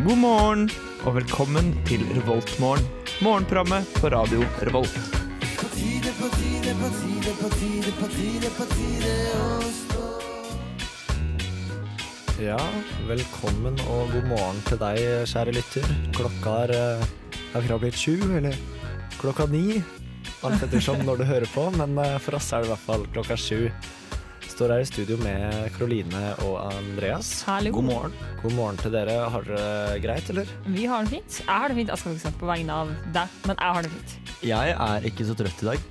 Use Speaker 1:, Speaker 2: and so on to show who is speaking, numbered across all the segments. Speaker 1: morgen, og velkommen til Revoltmorgen. Morgenprogrammet på radio Revolt.
Speaker 2: Ja, velkommen og god morgen til deg, kjære lytter. Klokka er eh, akkurat blitt sju, eller klokka ni. Alt ettersom når du hører på, men eh, for oss er det i hvert fall klokka sju. Står her i studio med Karoline og Andreas.
Speaker 3: Hallo.
Speaker 2: God morgen til dere. Har dere det greit, eller?
Speaker 3: Vi har det fint. Jeg har det fint. Jeg skal ikke snakke på vegne av deg, men jeg har det fint.
Speaker 4: Jeg er ikke så trøtt i dag.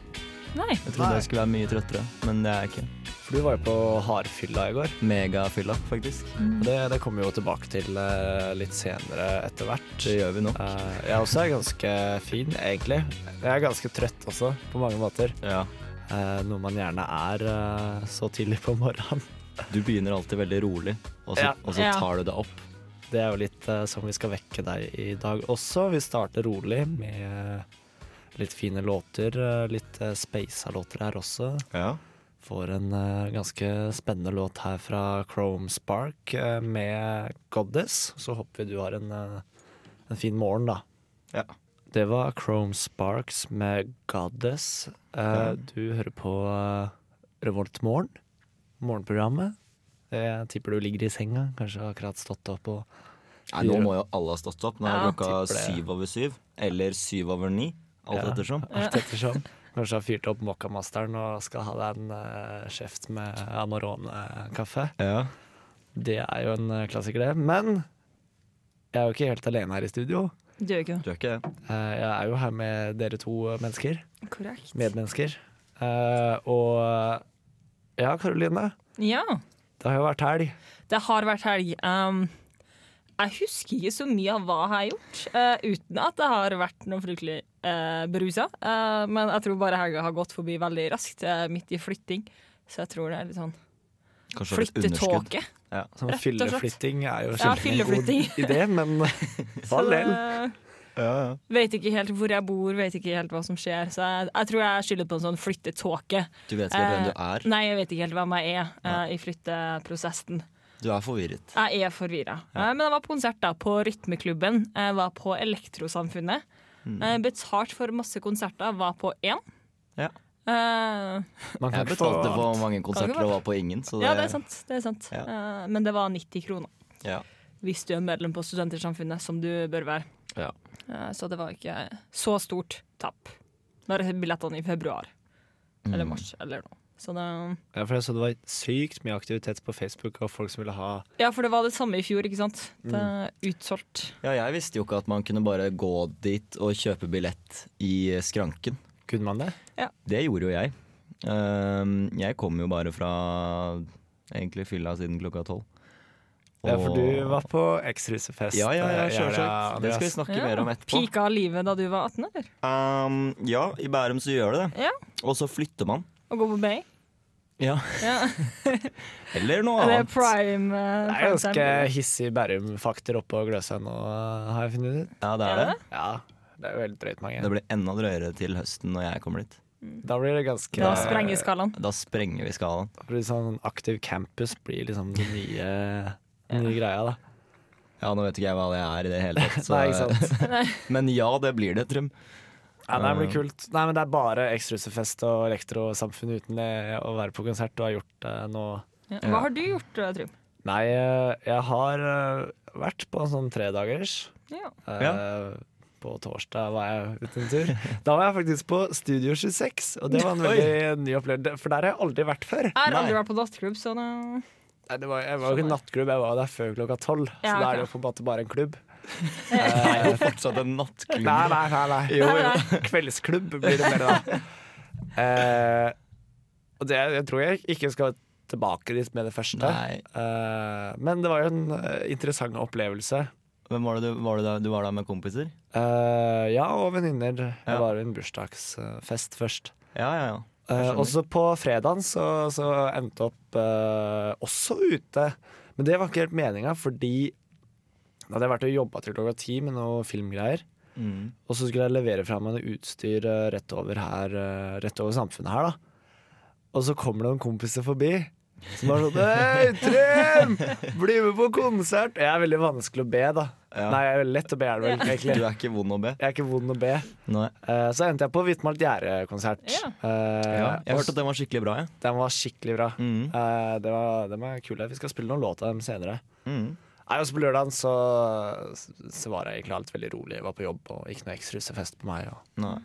Speaker 3: Nei.
Speaker 4: Jeg trodde jeg skulle være mye trøttere, men det er jeg ikke.
Speaker 2: For du var jo på hardfylla i går.
Speaker 4: Megafylla, faktisk.
Speaker 2: Og det, det kommer vi jo tilbake til eh, litt senere etter hvert.
Speaker 4: Det gjør vi nok.
Speaker 2: Eh, jeg også er ganske fin, egentlig. Jeg er ganske trøtt også, på mange måter.
Speaker 4: Ja.
Speaker 2: Eh, noe man gjerne er eh, så tidlig på morgenen.
Speaker 4: Du begynner alltid veldig rolig, og så,
Speaker 2: Ja.
Speaker 4: og så
Speaker 3: Ja.
Speaker 4: tar du deg opp.
Speaker 2: Det er jo litt eh, som vi skal vekke deg i dag også. Vi starter rolig med eh, litt fine låter. eh, litt uh, speisa låter her også.
Speaker 4: Ja.
Speaker 2: Får en eh, ganske spennende låt her fra Chrome Spark eh, med 'Goddess'. Så håper vi du har en, eh, en fin morgen, da.
Speaker 4: Ja.
Speaker 2: Det var Chrome Sparks med 'Goddess'. Eh, Du hører på uh, Revolt Morgen, morgenprogrammet. Jeg tipper du ligger i senga, kanskje akkurat stått opp og
Speaker 4: Nei, nå må jo alle ha stått opp. Nå er
Speaker 3: Ja.
Speaker 4: det klokka
Speaker 2: Tipper det.
Speaker 4: syv over syv. Eller syv over ni. Alt
Speaker 2: Ja.
Speaker 4: ettersom.
Speaker 2: alt ettersom. Kanskje har fyrt opp Mokkamasteren og skal ha deg en eh, kjeft med Amarone-kaffe.
Speaker 4: Ja.
Speaker 2: Det er jo en eh, klassiker, det. Men jeg er jo ikke helt alene her i studio.
Speaker 3: Du gjør ikke det.
Speaker 4: Du er ikke det?
Speaker 2: Eh, Jeg er jo her med dere to mennesker.
Speaker 3: Korrekt.
Speaker 2: Medmennesker. Eh, Og eh, ja, Karoline.
Speaker 3: Ja.
Speaker 2: Det har jo vært helg.
Speaker 3: Det har vært helg. Um, jeg husker ikke så mye av hva jeg har gjort, eh, uten at jeg har vært noe fryktelig uh, berusa. Eh, men jeg tror bare helga har gått forbi veldig raskt, eh, midt i flytting. Så jeg tror det er litt sånn
Speaker 4: Kanskje litt underskudd.
Speaker 3: flyttetåke.
Speaker 4: Ja.
Speaker 2: Sånn
Speaker 3: Rett og slett.
Speaker 2: fylleflytting er jo
Speaker 3: Ja,
Speaker 2: sjelden en god
Speaker 3: fylleflytting.
Speaker 2: idé, men
Speaker 3: Så
Speaker 2: for all del.
Speaker 3: det- uh, Vet ikke helt hvor jeg bor, vet ikke helt hva som skjer. Så jeg, jeg tror jeg skylder på en sånn flyttetåke.
Speaker 4: Du vet ikke helt hvem du
Speaker 3: Eh,
Speaker 4: er.
Speaker 3: Nei, jeg vet ikke helt hvem jeg er eh, i flytteprosessen.
Speaker 4: Du er forvirret.
Speaker 3: Jeg er forvirra. Eh, men jeg var på konsert da, på Rytmeklubben. Jeg var på Elektrosamfunnet.
Speaker 4: Mm.
Speaker 3: Eh, betalt for masse konserter. Var på én.
Speaker 4: Ja.
Speaker 3: Eh,
Speaker 2: Man kan
Speaker 4: Jeg
Speaker 2: ikke få
Speaker 4: betalte
Speaker 2: alt.
Speaker 4: for mange konserter og var på ingen, så det,
Speaker 3: ja, det er sant. Det er sant. Eh, men det var 90 kroner.
Speaker 4: Ja.
Speaker 3: Hvis du er medlem på Studentersamfunnet, som du bør være.
Speaker 4: Ja.
Speaker 3: Eh, så det var ikke så stort tap. Bare billettene i februar.
Speaker 4: Mm.
Speaker 3: Eller mars, eller noe. Så det
Speaker 2: Ja, for jeg så det var sykt mye aktivitet på Facebook av folk som ville ha
Speaker 3: Ja, for det var det samme i fjor, ikke sant?
Speaker 4: Mm.
Speaker 3: Det er utsolgt.
Speaker 4: ja, jeg visste jo ikke at man kunne bare gå dit og kjøpe billett i skranken.
Speaker 2: Kunne man det?
Speaker 4: Det gjorde jo jeg. Ehm, jeg kom jo bare fra egentlig fylla siden klokka tolv.
Speaker 2: Ja, for du
Speaker 4: Og-
Speaker 2: var på X-Rusefest.
Speaker 4: Ja, ja, ja
Speaker 2: eh, i helga,
Speaker 4: sjølsagt. Det skal
Speaker 2: Andreas.
Speaker 4: vi snakke
Speaker 3: Ja.
Speaker 4: mer om etterpå.
Speaker 3: Pika livet da du var 18, eller?
Speaker 4: Ehm, ja, i Bærum så gjør det det.
Speaker 3: Ja.
Speaker 4: Og så flytter man.
Speaker 3: Å gå på Bay?
Speaker 4: Ja.
Speaker 3: Ja.
Speaker 4: Eller noe
Speaker 3: Er det
Speaker 4: annet.
Speaker 3: prime? eh,
Speaker 2: Det er
Speaker 3: prime
Speaker 2: ganske
Speaker 3: time?
Speaker 2: hissig Bærum-fakter oppå Gløshaug nå, eh, har jeg funnet ut.
Speaker 4: Ja, det er
Speaker 3: Er
Speaker 4: det.
Speaker 2: Ja, det er jo helt drøyt mange.
Speaker 4: Det blir enda drøyere til høsten når jeg kommer dit.
Speaker 2: Da blir det ganske
Speaker 3: Da sprenger skalaen.
Speaker 4: Da sprenger vi skalaen.
Speaker 2: da blir det sånn Aktiv campus blir liksom den nye, den nye greia, da.
Speaker 4: Ja, nå vet ikke jeg hva det er i det hele tatt.
Speaker 2: Nei, ikke sant.
Speaker 4: Men ja, det blir det, Trym.
Speaker 2: Ja, nei, det blir kult. Nei, men det er bare X-Rusefest og Elektrosamfunn uten eh, å være på konsert og har gjort det nå.
Speaker 3: Ja. Hva har du gjort, eh, Trym?
Speaker 2: Nei, eh, jeg har eh, vært på en sånn tredagers.
Speaker 3: Ja.
Speaker 2: Eh, På torsdag var jeg ute en tur. Da var jeg faktisk på Studio 26, og det var en
Speaker 4: Oi.
Speaker 2: veldig ny opplevelse. For der har jeg aldri vært før.
Speaker 3: Jeg har
Speaker 4: Nei.
Speaker 3: aldri vært på datterklubb, så det
Speaker 2: Nei, det var, jeg var jo ikke en nattklubb, jeg var der før klokka tolv.
Speaker 3: Ja,
Speaker 2: så da
Speaker 3: ok.
Speaker 2: er det jo på en måte bare en klubb. Eh,
Speaker 4: Det er jo fortsatt en nattklubb.
Speaker 2: Nei, nei, nei. nei.
Speaker 4: Jo,
Speaker 3: jo.
Speaker 2: Kveldsklubb blir det mer da. Eh, og det, jeg tror jeg ikke skal tilbake dit med det første.
Speaker 4: Nei.
Speaker 2: Eh, men det var jo en eh, interessant opplevelse.
Speaker 4: Hvem var det du var, det der, du var der med kompiser?
Speaker 2: Eh, ja, og venninner.
Speaker 4: Ja.
Speaker 2: Jeg var i en bursdagsfest først.
Speaker 4: Ja, ja, ja.
Speaker 2: Eh,
Speaker 4: skjønner.
Speaker 2: og så på fredagen så, så endte opp eh, også ute. Men det var ikke helt meninga, fordi da hadde jeg vært og jobba til klokka ti med noe filmgreier.
Speaker 4: Mm.
Speaker 2: Og så skulle jeg levere fra meg noe utstyr eh, rett over, her, eh, rett over samfunnet her, da. Og så kommer det noen kompiser forbi. Som er sånn Hei, Trym! Bli med på konsert! Jeg er veldig vanskelig å be, da.
Speaker 4: Ja.
Speaker 2: Nei, jeg er lett å be, er det vel,
Speaker 4: Du
Speaker 2: egentlig.
Speaker 4: er ikke vond å be.
Speaker 2: Jeg er ikke vond å be.
Speaker 4: Nei.
Speaker 2: Eh, så endte jeg på Hvitmalt gjerde-konsert.
Speaker 3: Ja.
Speaker 2: Eh,
Speaker 4: Ja. Jeg
Speaker 2: og
Speaker 4: hørte at den var skikkelig bra, jeg.
Speaker 2: Den var skikkelig bra.
Speaker 4: Mm.
Speaker 2: Eh, det var, de er kule. Vi skal spille noen låter av dem senere.
Speaker 4: Mm.
Speaker 2: Nei, også På lørdagen så, så var jeg egentlig alt veldig rolig. Jeg var på jobb og ikke noe eksrusefest på meg. Og
Speaker 4: Nei.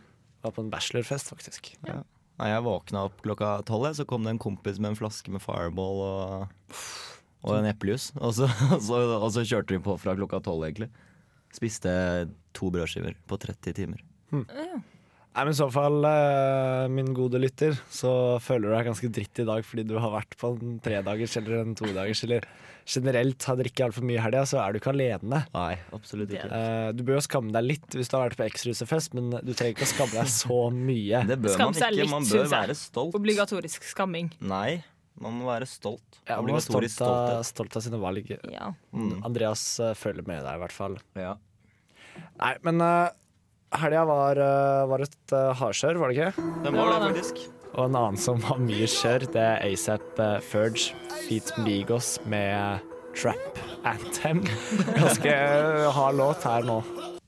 Speaker 2: var på en bachelorfest, faktisk.
Speaker 4: Nei, jeg våkna opp klokka tolv, jeg, så kom det en kompis med en flaske med fireball og, og en eplejus. Og, så- og, så- og så kjørte vi på fra klokka tolv, egentlig. Spiste to brødskiver på 30 timer.
Speaker 2: Nei, men I så fall, eh, min gode lytter, så føler du deg ganske dritt i dag fordi du har vært på en tredagers eller en todagers, eller generelt har drikket altfor mye i helga, så er du ikke alene.
Speaker 4: Nei, absolutt ikke.
Speaker 2: Eh, du bør jo skamme deg litt hvis du har vært på eksrusefest, men du trenger ikke å skamme deg så mye.
Speaker 4: Det bør man
Speaker 3: Skam seg
Speaker 4: ikke.
Speaker 3: litt,
Speaker 4: Man bør
Speaker 3: synes jeg.
Speaker 4: være stolt.
Speaker 3: Obligatorisk skamming.
Speaker 4: Nei, man må være stolt.
Speaker 2: Jeg var
Speaker 4: Obligatorisk
Speaker 2: stolt av,
Speaker 4: stolthet.
Speaker 2: stolt av sine valg.
Speaker 3: Ja.
Speaker 4: Mm.
Speaker 2: Andreas eh, følger med deg, i hvert fall.
Speaker 4: Ja.
Speaker 2: Nei, men uh, helga var, eh, var et uh, hardkjør, var det ikke?
Speaker 4: Den var det, faktisk.
Speaker 2: Og en annen som var mye kjør, det er ASAP eh, Ferge, Feet Migos med Trap Anthem. Ganske eh, hard låt her nå.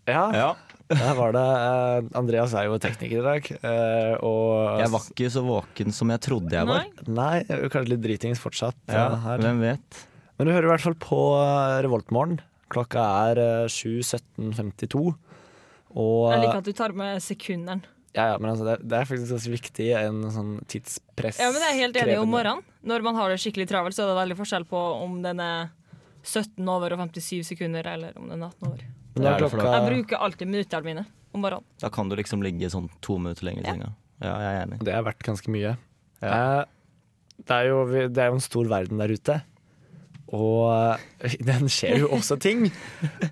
Speaker 2: Ja,
Speaker 4: Ja.
Speaker 2: der var det. eh, Andreas er jo tekniker i dag, eh, og
Speaker 4: Jeg var ikke så våken som jeg trodde jeg var.
Speaker 3: Nei.
Speaker 2: Nei, jeg er jo kanskje litt dritings fortsatt. eh,
Speaker 4: Ja,
Speaker 2: her.
Speaker 4: hvem vet?
Speaker 2: Men du hører i hvert fall på eh, Revoltmorgen. Klokka er eh, 7.17.52. Og
Speaker 3: Jeg liker at du tar med sekunderen.
Speaker 2: Ja, ja, men altså, det, det er faktisk ganske viktig i en sånn tidspress.
Speaker 3: Ja, men Jeg er helt enig om
Speaker 2: krevende-
Speaker 3: morgenen. Når man har det skikkelig travelt, så er det veldig forskjell på om den er 17 over og 57 sekunder, eller om den er 18 over.
Speaker 2: Men da er
Speaker 4: Det er det for
Speaker 2: klokka,
Speaker 3: Jeg bruker alltid minuttene mine om morgenen.
Speaker 4: Da kan du liksom ligge sånn to minutter lenger i
Speaker 3: Ja.
Speaker 4: senga. Ja, jeg er enig.
Speaker 2: det er verdt ganske mye. Eh, Det, er jo, vi- det er jo en stor verden der ute, og eh, i den skjer jo også ting.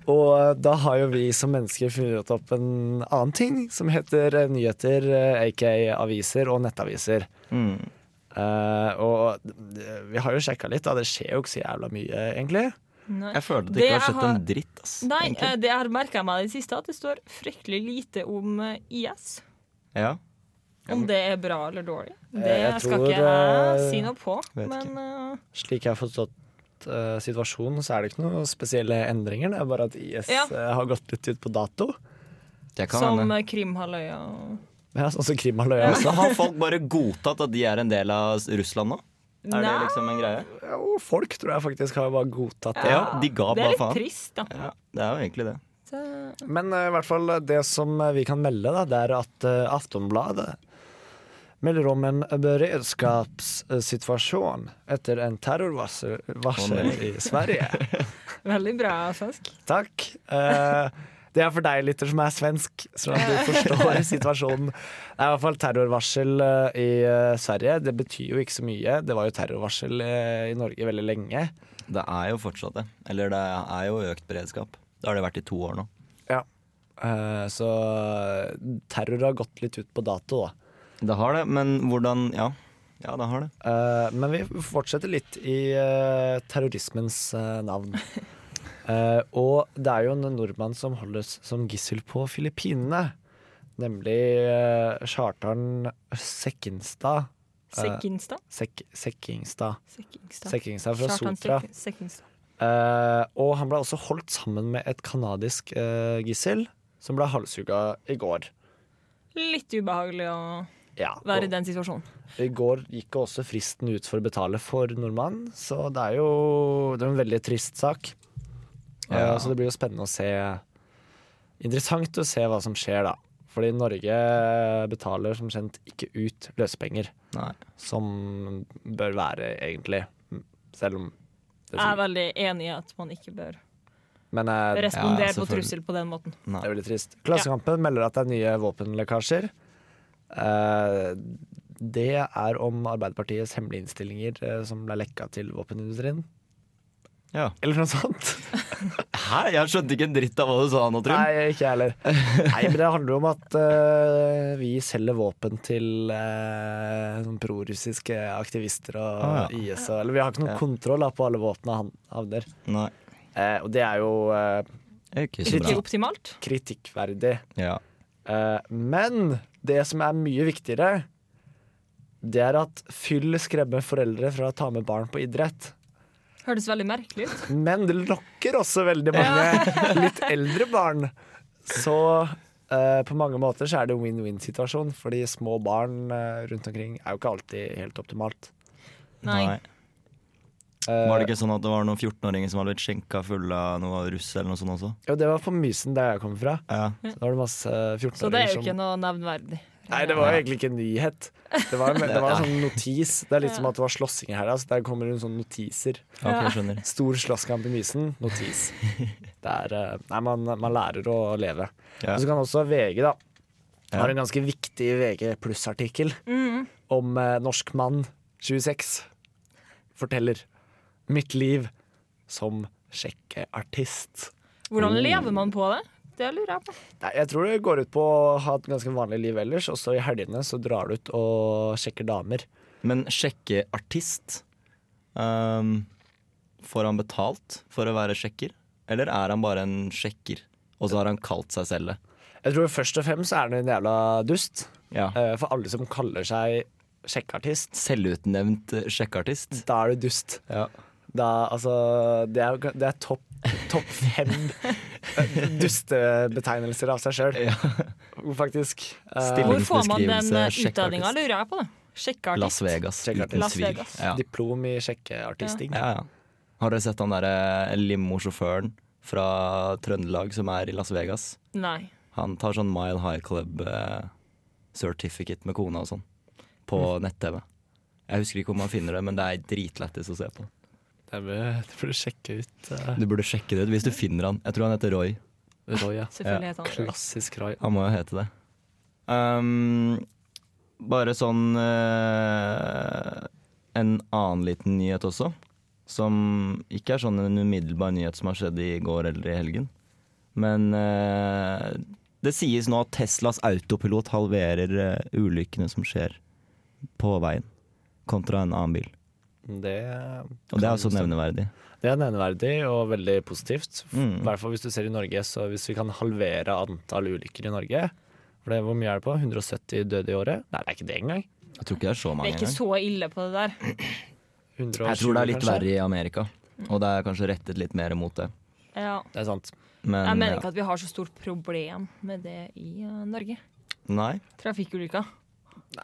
Speaker 2: Og eh, da har jo vi som mennesker funnet opp en annen ting som heter eh, nyheter, eh, aka aviser og nettaviser.
Speaker 4: Mm.
Speaker 2: Eh, og eh, vi har jo sjekka litt, da. Det skjer jo ikke så jævla mye, egentlig.
Speaker 3: Nei.
Speaker 4: Jeg føler at det
Speaker 3: Det
Speaker 4: ikke har
Speaker 3: jeg
Speaker 4: skjedd
Speaker 3: har-
Speaker 4: en dritt, ass.
Speaker 3: Nei,
Speaker 4: egentlig.
Speaker 3: eh, det jeg har merka meg i det siste, at det står fryktelig lite om eh, IS.
Speaker 4: Ja.
Speaker 3: Om det er bra eller dårlig, det
Speaker 2: Eh, jeg
Speaker 3: skal
Speaker 2: tror,
Speaker 3: ikke jeg
Speaker 2: eh,
Speaker 3: si noe på.
Speaker 4: vet
Speaker 3: Men eh,
Speaker 2: Slik jeg har forstått eh, situasjonen, så er det ikke noen spesielle endringer. Det er bare at IS
Speaker 3: Ja.
Speaker 2: eh, har gått litt ut på dato.
Speaker 4: Det kan
Speaker 3: som
Speaker 4: hende.
Speaker 3: eh, Krimhalvøya og
Speaker 2: Ja, sånn som Krimhalvøya også.
Speaker 4: Så har folk bare godtatt at de er en del av Russland nå? Er det
Speaker 3: Nei,
Speaker 4: liksom en greie?
Speaker 2: Jo, folk tror jeg faktisk har bare godtatt det.
Speaker 4: Ja, de ga
Speaker 3: det er
Speaker 4: bare
Speaker 3: litt
Speaker 4: faen.
Speaker 3: trist, da.
Speaker 4: Ja, det er jo egentlig det.
Speaker 3: Så-
Speaker 2: Men eh, i hvert fall det som eh, vi kan melde, da, det er at eh, Aftonbladet melder om en beredskapssituasjon etter en terrorvarsel
Speaker 4: Å,
Speaker 2: varsel i Sverige.
Speaker 3: Veldig bra svensk.
Speaker 2: Takk. Eh, det er for deg, lytter, som er svensk, så at du forstår situasjonen. Det er i hvert fall terrorvarsel eh, i eh, Sverige. Det betyr jo ikke så mye. Det var jo terrorvarsel eh, i Norge veldig lenge.
Speaker 4: Det er jo fortsatt det. Eller det er jo økt beredskap. Det har det vært i to år nå.
Speaker 2: Eh, så eh, terror har gått litt ut på dato, da.
Speaker 4: Det har det, men hvordan Ja, ja det har det.
Speaker 2: Eh, men vi fortsetter litt i eh, terrorismens eh, navn. Eh, og det er jo en nordmann som holdes som gissel på Filippinene. Nemlig uh, charteren Sekkenstad. Eh,
Speaker 3: Sekkinstad?
Speaker 2: Sek Sekkingstad.
Speaker 3: Sekkingstad.
Speaker 2: Sekkingstad fra
Speaker 3: Kjartan
Speaker 2: Sotra.
Speaker 3: Sekk- Sekkingstad.
Speaker 2: Eh, og han ble også holdt sammen med et kanadisk eh, gissel, som ble halshugga i går.
Speaker 3: Litt ubehagelig å
Speaker 2: Ja,
Speaker 3: være i
Speaker 2: og
Speaker 3: den situasjonen.
Speaker 2: I går gikk også fristen ut for å betale for nordmannen, så det er jo det er en veldig trist sak. Eh,
Speaker 4: Ja.
Speaker 2: så det blir jo spennende å se Interessant å se hva som skjer, da. Fordi Norge betaler som kjent ikke ut løsepenger,
Speaker 4: Nei.
Speaker 2: som bør være, egentlig. Selv om det
Speaker 3: Jeg er veldig enig i at man ikke bør
Speaker 2: Men eh,
Speaker 3: respondere på
Speaker 4: selvfølgelig.
Speaker 3: trussel på den måten.
Speaker 2: Det er veldig trist. Klassekampen melder at det er nye våpenlekkasjer. Eh, det er om Arbeiderpartiets hemmelige innstillinger eh, som ble lekka til våpenindustrien.
Speaker 4: Ja.
Speaker 2: Eller noe sånt.
Speaker 4: Hæ? Jeg skjønte ikke en dritt av hva du sa nå, Trym.
Speaker 2: Nei, ikke jeg heller. Nei, men det handler jo om at eh, vi selger våpen til eh, sånn prorussiske aktivister og
Speaker 4: Ah, ja.
Speaker 2: IS og Eller vi har ikke noen kontroll da, på alle våpnene han havner.
Speaker 4: Nei.
Speaker 2: Eh, og det er jo eh,
Speaker 4: Det er Ikke så
Speaker 3: Ikke
Speaker 4: bra.
Speaker 3: optimalt.
Speaker 2: kritikkverdig.
Speaker 4: Ja.
Speaker 2: Eh, men det som er mye viktigere, det er at fyll skremmer foreldre fra å ta med barn på idrett.
Speaker 3: Hørtes veldig merkelig ut.
Speaker 2: Men det lokker også veldig mange litt eldre barn. Så eh, på mange måter så er det en win-win-situasjon, fordi små barn eh, rundt omkring er jo ikke alltid helt optimalt.
Speaker 3: Nei.
Speaker 2: Eh,
Speaker 4: Var det ikke sånn at det var noen 14-åringer som hadde blitt skjenka fulle av noe russ eller noe sånt også?
Speaker 2: Jo, det var på Mysen, der jeg kommer fra.
Speaker 4: Ja.
Speaker 2: Da var det masse eh, 14-åringer
Speaker 3: Så det er jo ikke noe nevnverdig.
Speaker 2: Nei, det var jo egentlig ikke en nyhet. Det var, en- det var en sånn notis. Det er litt som at det var slåssing her. Altså. Der kommer det sånne notiser.
Speaker 4: Ok, jeg skjønner.
Speaker 2: Stor slåsskamp i Mysen. Notis. Det er eh, Nei, man, man lærer å leve.
Speaker 4: Ja.
Speaker 2: Og så kan også VG, da.
Speaker 4: Ja.
Speaker 2: Har en ganske viktig VG pluss-artikkel om eh, norsk mann 26 forteller mitt liv som sjekkeartist.
Speaker 3: Hvordan
Speaker 2: Oh.
Speaker 3: lever man på det? Det lurer jeg på.
Speaker 2: Nei, jeg tror det går ut på å ha et ganske vanlig liv ellers, og så i helgene så drar du ut og sjekker damer.
Speaker 4: Men sjekke artist ehm, Får han betalt for å være sjekker? Eller er han bare en sjekker, og så har han kalt seg selv det?
Speaker 2: Jeg tror først og fremst er han en jævla dust,
Speaker 4: Ja.
Speaker 2: eh, for alle som kaller seg sjekkeartist,
Speaker 4: Selvutnevnt eh, sjekkeartist.
Speaker 2: da er du dust.
Speaker 4: Ja.
Speaker 2: Da, altså, det er, jo- det er topp topp fem eh, dustebetegnelser av seg sjøl, faktisk. Eh,
Speaker 4: Stille.
Speaker 3: Hvor får man den eh,
Speaker 4: Stillingsbeskrivelse,
Speaker 3: utdanninga, lurer jeg på. det Sjekkeartist.
Speaker 4: Las Vegas,
Speaker 2: Sjekkeartist.
Speaker 4: uten
Speaker 3: Las
Speaker 4: svil.
Speaker 3: Vegas.
Speaker 4: Ja.
Speaker 2: Diplom i sjekkeartisting.
Speaker 4: Ja, ja. Har dere sett han derre limo-sjåføren fra Trøndelag som er i Las Vegas?
Speaker 3: Nei.
Speaker 4: Han tar sånn Mile High Club eh, certificate med kona og sånn på nett-TV. Jeg husker ikke om han finner det, men det er dritlættis å se på.
Speaker 2: Det burde du sjekke ut. eh,
Speaker 4: Du burde sjekke det ut hvis du finner han. Jeg tror han heter Roy.
Speaker 2: Roy, ja.
Speaker 3: Selvfølgelig heter han det.
Speaker 2: Klassisk Roy.
Speaker 4: Han må jo hete det. Ehm, bare sånn eh, En annen liten nyhet også. Som ikke er sånn en umiddelbar nyhet som har skjedd i går eller i helgen. Men eh, det sies nå at Teslas autopilot halverer eh, ulykkene som skjer på veien, kontra en annen bil.
Speaker 2: Det,
Speaker 4: Og det er også nevneverdig.
Speaker 2: det er nevneverdig og veldig positivt. I
Speaker 4: Mm.
Speaker 2: hvert fall hvis du ser i Norge, så hvis vi kan halvere antall ulykker i Norge For det, hvor mye er det på? 170 døde i året? Nei, det er ikke det engang.
Speaker 4: Jeg tror ikke det er så
Speaker 3: Det
Speaker 4: mange
Speaker 3: er ikke
Speaker 4: engang.
Speaker 3: så ille på det der.
Speaker 2: 120,
Speaker 4: Jeg tror det er litt
Speaker 2: kanskje?
Speaker 4: verre i Amerika, og det er kanskje rettet litt mer mot det.
Speaker 3: Ja.
Speaker 2: Det er sant.
Speaker 4: Men,
Speaker 3: Jeg mener
Speaker 4: ja.
Speaker 3: ikke at vi har så stort problem med det i eh, Norge.
Speaker 4: Nei.
Speaker 3: Trafikkulykker.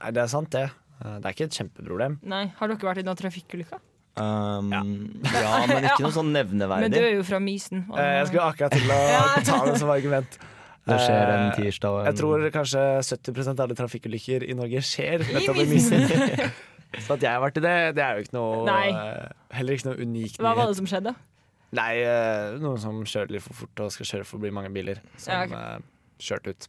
Speaker 2: Nei, det er sant, det. Eh, Det er ikke et kjempeproblem.
Speaker 3: Nei, har dere vært i noen trafikkulykker?
Speaker 4: Um, ja. men ikke noe sånn nevneverdig.
Speaker 3: Men du er jo fra Mysen. og-
Speaker 2: Eh, Jeg skulle akkurat til å ta det som argument.
Speaker 4: Det skjer en
Speaker 2: Eh,
Speaker 4: tirsdag og en
Speaker 2: Jeg tror kanskje 70 av alle trafikkulykker i Norge skjer nettopp i
Speaker 3: Mysen.
Speaker 2: Mysen. Så at jeg har vært i det, det er jo ikke noe
Speaker 3: Nei.
Speaker 2: eh, Heller ikke noe unikt.
Speaker 3: Hva var
Speaker 2: nyhet.
Speaker 3: det som skjedde?
Speaker 2: Nei, eh, noen som kjører litt for fort og skal kjøre forbi mange biler. Som
Speaker 3: Ja, ok.
Speaker 2: eh, kjørte ut.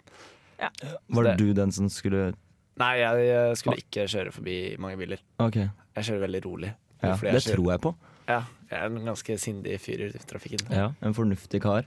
Speaker 4: Var det
Speaker 2: det-
Speaker 4: du den som skulle
Speaker 2: Nei, jeg eh, skulle ikke kjøre forbi mange biler.
Speaker 4: Ok,
Speaker 2: Jeg kjører veldig rolig.
Speaker 4: ja,
Speaker 2: Fordi
Speaker 4: det
Speaker 2: jeg kjører-
Speaker 4: tror jeg på.
Speaker 2: Ja, jeg er en ganske sindig fyr i trafikken.
Speaker 4: Ja. En fornuftig kar.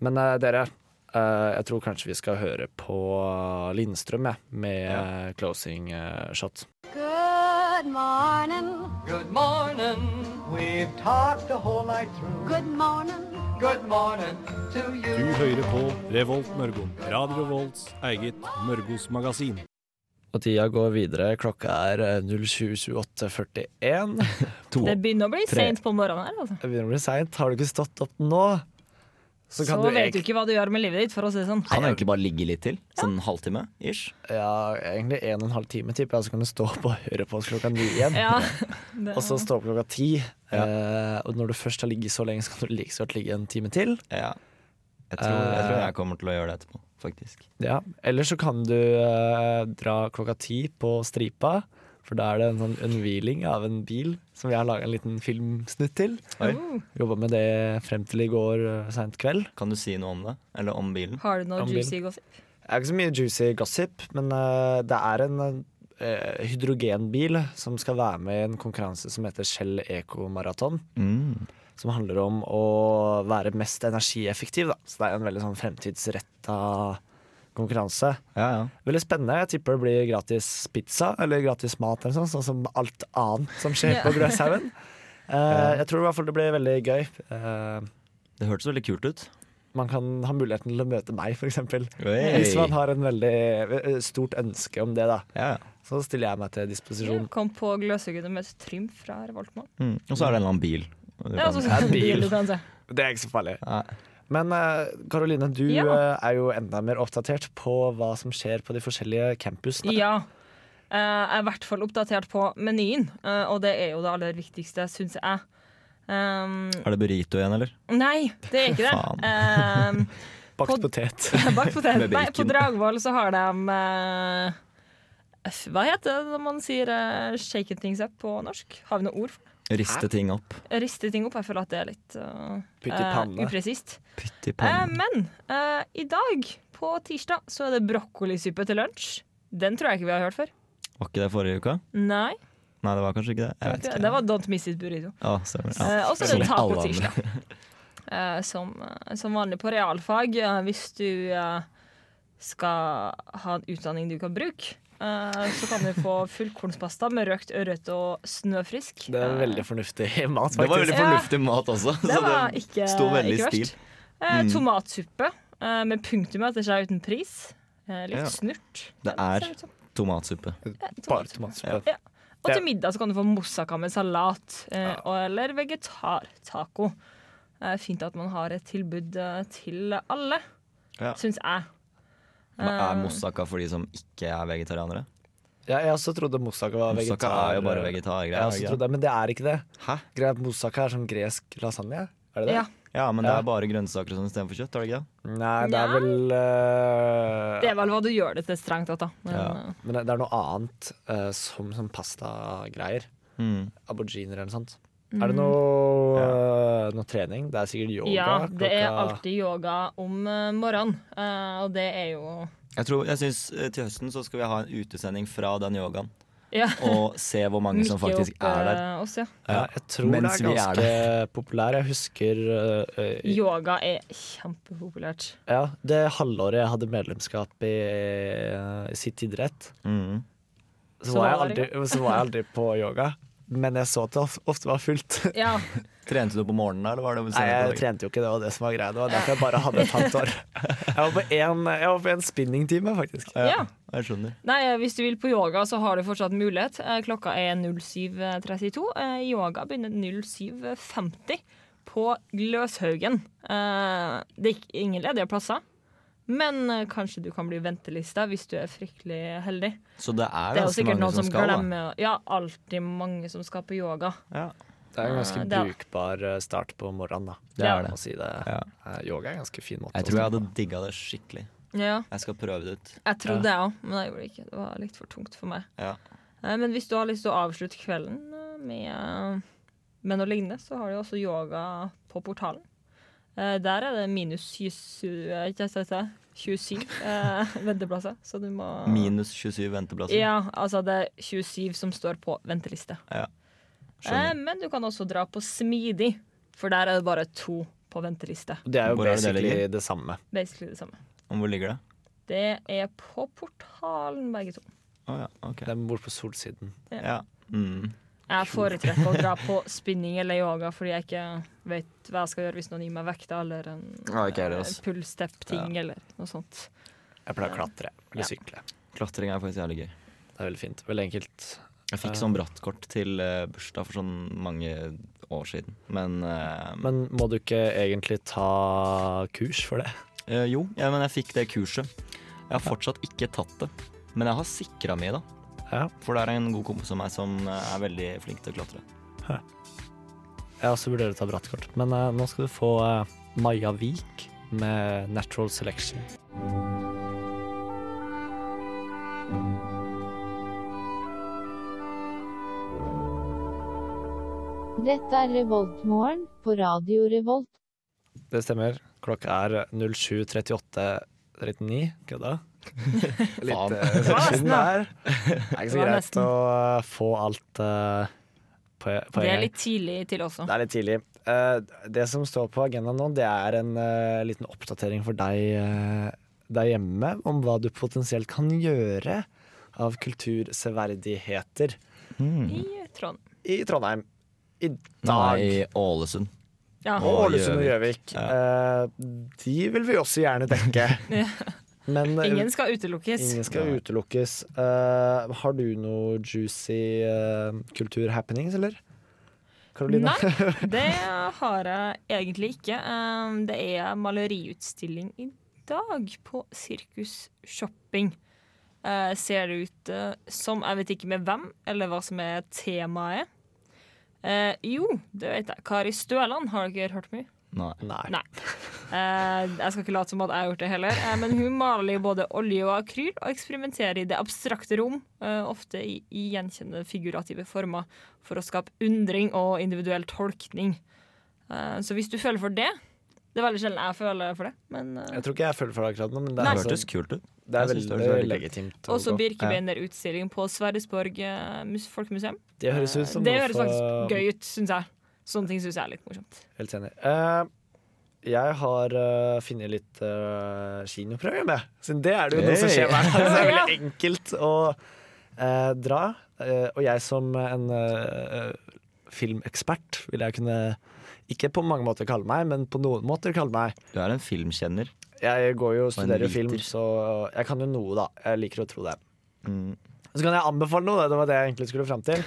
Speaker 2: Men eh, dere, eh, jeg tror kanskje vi skal høre på Lindstrøm jeg, med eh, closing eh, shot.
Speaker 5: Good morning.
Speaker 6: Good morning. We've talked the whole night through.
Speaker 5: Good morning.
Speaker 6: Good morning to you.
Speaker 7: Du hører på Revolt Mørgo. Radio Revolts eget Mørgos magasin.
Speaker 2: Og tida går videre. Klokka er eh, 07.28.41.
Speaker 3: Det begynner å bli
Speaker 2: tre.
Speaker 3: seint på morgenen her. Altså.
Speaker 2: Det begynner å bli seint. Har du ikke stått opp nå, så
Speaker 3: Så
Speaker 2: kan du
Speaker 3: vet du
Speaker 2: egentlig
Speaker 3: ikke hva du gjør med livet ditt, for å si det sånn.
Speaker 4: Kan egentlig bare ligge litt til. Sånn halvtime ish.
Speaker 2: Ja, egentlig en og en halv time, tipper jeg. Så kan du stå opp og høre på oss klokka ni igjen.
Speaker 3: Ja, det,
Speaker 2: Og så stå opp klokka ti. Eh, og når du først har ligget så lenge, så kan du like så godt ligge en time til.
Speaker 4: Ja. Eh. Jeg tror, jeg tror jeg kommer til å gjøre det etterpå, faktisk.
Speaker 2: Ja, Eller så kan du eh, dra klokka ti på stripa, for da er det en sånn unnhviling av en bil som vi har laga en liten filmsnutt til.
Speaker 4: Oi.
Speaker 2: Jobba med det frem til i går uh, seint kveld.
Speaker 4: Kan du si noe om det? Eller om bilen?
Speaker 3: har du noe
Speaker 2: Om
Speaker 3: juicy gossip?
Speaker 2: Det er ikke så mye juicy gossip, men eh, det er en eh, hydrogenbil som skal være med i en konkurranse som heter Shell Eco Marathon.
Speaker 4: Mm.
Speaker 2: Som handler om å være mest energieffektiv, da. Så det er en veldig sånn fremtidsretta konkurranse.
Speaker 4: Ja, ja.
Speaker 2: Veldig spennende. Jeg tipper det blir gratis pizza eller gratis mat, eller sånn, sånn som alt annet som skjer på Grøshaugen. Eh, jeg tror i hvert fall det blir veldig gøy. Eh,
Speaker 4: Det hørtes veldig kult ut.
Speaker 2: man kan ha muligheten til å møte meg, f.eks.
Speaker 4: Hey.
Speaker 2: Hvis man har en veldig eh, stort ønske om det, da.
Speaker 4: Ja, ja.
Speaker 2: Så stiller jeg meg til
Speaker 3: Ja,
Speaker 2: disposisjon.
Speaker 3: kom på Gløshaugen og møtte Trym fra Revoltmann.
Speaker 4: Mm. Og så er det en eller annen bil. Men du
Speaker 3: Ja,
Speaker 4: kan-
Speaker 3: så,
Speaker 2: Ja, bil.
Speaker 3: bil, du kan se.
Speaker 2: Det er ikke så farlig.
Speaker 4: Nei.
Speaker 2: Men eh, Karoline, du
Speaker 3: Ja.
Speaker 2: eh, er jo enda mer oppdatert på hva som skjer på de forskjellige campusene.
Speaker 3: Ja. Eh, jeg er i hvert fall oppdatert på menyen, eh, og det er jo det aller viktigste, syns jeg. Um,
Speaker 4: Er det burrito igjen, eller?
Speaker 3: nei, det er ikke det. Um,
Speaker 2: Bakt
Speaker 3: Pod-
Speaker 2: potet.
Speaker 3: Bakt potet.
Speaker 4: Med
Speaker 3: Nei, på
Speaker 4: bacon.
Speaker 3: Dragvoll så har de eh, f- Hva heter det når man sier eh, 'shaken things up' på norsk? Har vi noe ord for det?
Speaker 4: Riste ting opp.
Speaker 3: Riste ting opp. Jeg føler at det er litt eh,
Speaker 2: Putt i
Speaker 3: eh,
Speaker 2: panne.
Speaker 3: upresist.
Speaker 4: Pytt i
Speaker 3: Eh,
Speaker 4: pannen.
Speaker 3: men eh, i dag, på tirsdag, så er det brokkolisype til lunsj. Den tror jeg ikke vi har hørt før.
Speaker 4: Var ikke det forrige uka?
Speaker 3: Nei.
Speaker 4: Nei, det var kanskje ikke det. Jeg vet ikke.
Speaker 3: Det var Don't Miss It Burrito.
Speaker 4: Ja, stemmer. Ja.
Speaker 3: Eh, og så er det
Speaker 4: Som alle andre.
Speaker 3: tacotirsdag. Eh, som, eh, som vanlig på realfag, eh, hvis du eh, skal ha en utdanning du kan bruke, eh, så kan du få fullkornspasta med røkt ørret og snøfrisk.
Speaker 2: Det er veldig fornuftig mat, faktisk.
Speaker 4: Det var veldig
Speaker 3: Ja.
Speaker 4: fornuftig mat også.
Speaker 3: Eh, det var ikke,
Speaker 4: sto veldig
Speaker 3: ikke
Speaker 4: i stil.
Speaker 3: verst. Eh, tomatsuppe eh, med punktum etter seg uten pris. Eh, litt
Speaker 4: Ja.
Speaker 3: snurt.
Speaker 4: Det
Speaker 3: ser
Speaker 4: er-
Speaker 3: ut som.
Speaker 4: Tomatsuppe.
Speaker 3: Ja,
Speaker 2: Bare
Speaker 3: tomatsuppe.
Speaker 2: tomatsuppe.
Speaker 3: Ja. Og
Speaker 2: Det-
Speaker 3: til middag så kan du få moussaka med salat eh, og- eller vegetartaco. Eh, fint at man har et tilbud eh, til alle,
Speaker 4: Ja.
Speaker 3: syns jeg. Eh,
Speaker 4: Men er moussaka for de som ikke er vegetarianere?
Speaker 2: Ja, jeg også trodde moussaka var vegetar.
Speaker 4: Moussaka er jo bare
Speaker 2: Jeg også
Speaker 4: vegetargreier.
Speaker 2: trodde, det, men det er ikke det.
Speaker 4: Hæ?
Speaker 2: Greia er at Moussaka er som gresk lasagne. Er det det?
Speaker 3: Ja,
Speaker 4: Ja, men det
Speaker 2: Ja.
Speaker 4: er bare grønnsaker og sånn istedenfor kjøtt, er det ikke det?
Speaker 2: Nei, det er
Speaker 3: Nei.
Speaker 2: vel eh,
Speaker 3: det er vel hva du gjør det til strengt tatt, da. Men,
Speaker 4: Ja.
Speaker 3: eh,
Speaker 2: Men det, det er noe annet eh, som, som pastagreier.
Speaker 4: Mm.
Speaker 2: Aboriginer eller noe sånt.
Speaker 3: Mm.
Speaker 2: Er det noe, eh, noe trening? Det er sikkert yoga.
Speaker 3: ja, det er
Speaker 2: klokka-
Speaker 3: alltid yoga om eh, morgenen, eh, og det er jo
Speaker 4: Jeg, tror- jeg syns eh, til høsten så skal vi ha en utesending fra den yogaen.
Speaker 3: ja,
Speaker 4: Og se hvor mange som
Speaker 3: mikke
Speaker 4: faktisk
Speaker 3: opp,
Speaker 4: er der.
Speaker 3: eh, oss, ja.
Speaker 2: ja, Jeg tror det
Speaker 4: Mens
Speaker 2: er
Speaker 4: vi er
Speaker 2: ganske populær. Jeg husker eh, eh,
Speaker 3: Yoga er kjempepopulært.
Speaker 2: ja, det halvåret jeg hadde medlemskap i eh, sitt idrett,
Speaker 4: Mm.
Speaker 2: så,
Speaker 3: Så
Speaker 2: var jeg
Speaker 3: var
Speaker 2: aldri,
Speaker 3: det
Speaker 2: så var jeg aldri på yoga. Men jeg så at det of- ofte var fullt.
Speaker 3: Ja,
Speaker 4: Trente du på morgenen, da, eller var det
Speaker 2: Nei, jeg
Speaker 4: senere på dagen?
Speaker 2: trente jo ikke, det var det som var greia. Det var derfor jeg bare hadde et halvt år. Jeg var på en, jeg var på en spinningtime, faktisk.
Speaker 3: ja.
Speaker 4: Jeg skjønner.
Speaker 3: Nei, eh, Hvis du vil på yoga, så har du fortsatt mulighet. Eh, Klokka er 07.32. Eh, Yoga begynner 07.50 på Gløshaugen. Eh, Det er ikk- ingen ledige plasser, men eh, kanskje du kan bli ventelista hvis du er fryktelig heldig.
Speaker 4: Så det er
Speaker 3: Det er jo
Speaker 4: ganske
Speaker 3: sikkert
Speaker 4: mange
Speaker 3: noen
Speaker 4: som
Speaker 3: som
Speaker 4: skal, da.
Speaker 3: glemmer å- Ja, alltid mange som skal på yoga.
Speaker 4: Ja.
Speaker 2: Det er en ganske
Speaker 3: Eh, det er-
Speaker 2: brukbar eh, start på morgenen, da.
Speaker 4: Det er det.
Speaker 2: Å si det.
Speaker 4: Ja.
Speaker 2: Eh, Yoga er en ganske fin måte.
Speaker 4: Jeg
Speaker 2: å
Speaker 4: tror jeg
Speaker 2: starte
Speaker 4: hadde digga det skikkelig.
Speaker 3: Ja,
Speaker 4: Jeg skal prøve det ut.
Speaker 3: Jeg trodde det òg, men jeg gjorde det ikke. Det var litt for tungt for meg.
Speaker 4: Ja.
Speaker 3: Eh, Men hvis du har lyst til å avslutte kvelden eh, med, med noe lignende, så har du også yoga på portalen. Eh, Der er det minus 27, eh, ikke jeg sier, 27 eh, venteplasser, så du må
Speaker 4: Minus 27 venteplasser.
Speaker 3: Ja, altså det er 27 som står på venteliste. Eh,
Speaker 4: Skjønner.
Speaker 3: Men du kan også dra på Smidig, for der er det bare to på venteliste.
Speaker 2: med. Det er jo
Speaker 4: Hvor er det det
Speaker 2: basically
Speaker 4: ligger?
Speaker 2: det, samme.
Speaker 3: Basically det samme.
Speaker 4: Om hvor ligger det?
Speaker 3: Det er på portalen, begge to.
Speaker 4: Å ja, ok.
Speaker 2: Det er bort på solsiden.
Speaker 4: Ja. Mm.
Speaker 3: Jeg foretrekker å dra på spinning eller yoga fordi jeg ikke vet hva jeg skal gjøre hvis noen gir meg vekta eller en
Speaker 4: Ja, ikke jeg heller, ass.
Speaker 3: eh, pull-step-ting eller noe sånt.
Speaker 2: Jeg pleier å klatre eller
Speaker 3: Ja.
Speaker 2: sykle.
Speaker 4: Klatring er faktisk jævlig gøy.
Speaker 2: Det er veldig fint. Veldig enkelt.
Speaker 4: Jeg fikk sånn brattkort til eh, bursdag for sånn mange år siden. Men, eh,
Speaker 2: Men må du ikke egentlig ta kurs for det?
Speaker 4: eh, jo, ja, men jeg fikk det kurset. Jeg har fortsatt ikke tatt det. Men jeg har sikra mi, da.
Speaker 2: Ja.
Speaker 4: For det er en god kompis av meg som eh, er veldig flink til å klatre.
Speaker 2: Jeg også vurderer å ta brattkort. Men eh, nå skal du få eh, Maja Vik med Natural Selection.
Speaker 8: Dette er Revoltmorgen på Radio Revolt.
Speaker 2: Det stemmer. Klokka er eh, 07.38,39. Kødda? Litt
Speaker 4: Faen.
Speaker 2: eh, siden der. Det er ikke
Speaker 3: Det
Speaker 2: så
Speaker 3: var
Speaker 2: greit
Speaker 3: nesten.
Speaker 2: å eh, få alt eh, på, på
Speaker 3: Det
Speaker 2: en
Speaker 3: er
Speaker 2: gang.
Speaker 3: litt tidlig til også.
Speaker 2: Det er litt tidlig. Eh, det som står på agendaen nå, det er en eh, liten oppdatering for deg eh, der hjemme om hva du potensielt kan gjøre av kulturseverdigheter
Speaker 3: I Trond.
Speaker 2: i Trondheim i Hmm. dag.
Speaker 4: Nei, i Ålesund.
Speaker 3: Ja.
Speaker 2: Og Ålesund og Gjøvik. Eh, de vil vi også gjerne dekke. Men eh,
Speaker 3: Ingen skal utelukkes.
Speaker 2: ingen skal utelukkes. Eh, har du noe juicy eh, kulturhappenings, eller? Karolina?
Speaker 3: Nei, det har jeg egentlig ikke. Um, Det er maleriutstilling i dag på Sirkus Shopping. Eh, Ser det ut eh, som Jeg vet ikke med hvem, eller hva som er temaet. Eh, jo, det vet jeg. Kari Støland har dere hørt mye?
Speaker 4: Nei.
Speaker 2: Nei.
Speaker 3: Nei. Eh, jeg skal ikke late som at jeg har gjort det heller. Eh, men hun maler i både olje og akryl og eksperimenterer i det abstrakte rom, eh, ofte i, i gjenkjennende figurative former, for å skape undring og individuell tolkning. Eh, så hvis du føler for det Det er veldig sjelden jeg føler for det, men eh,
Speaker 2: Jeg tror ikke jeg føler for det akkurat nå, men det
Speaker 3: Nei.
Speaker 2: er,
Speaker 4: Det
Speaker 2: altså-
Speaker 4: hørtes kult ut.
Speaker 2: det er
Speaker 4: Jeg synes
Speaker 2: veldig,
Speaker 4: det høres veldig
Speaker 2: legitimt. å
Speaker 3: Også
Speaker 2: gå.
Speaker 3: Birkebeinerutstilling på Sverresborg eh, mus- folkemuseum. Eh,
Speaker 2: Det høres ut som
Speaker 3: det
Speaker 2: noe
Speaker 3: høres
Speaker 2: for- um,
Speaker 3: faktisk gøy ut, syns jeg. Sånne ting syns jeg er litt morsomt.
Speaker 2: Helt enig. Eh, jeg har uh, funnet litt uh, kinoprogram, jeg. Siden det er det jo noe som
Speaker 4: Hey.
Speaker 2: skjer hver dag. Så det er
Speaker 3: Ja.
Speaker 2: veldig enkelt å eh, dra. Eh, og jeg som en eh, filmekspert vil jeg kunne ikke på mange måter kalle meg, men på noen måter kalle meg.
Speaker 4: Du er en filmkjenner.
Speaker 2: Jeg går jo og
Speaker 4: en
Speaker 2: studerer jo film,
Speaker 4: viter.
Speaker 2: så jeg kan jo noe, da. Jeg liker å tro det.
Speaker 4: Mm.
Speaker 2: Så kan jeg anbefale noe, da. det var det jeg egentlig skulle fram til.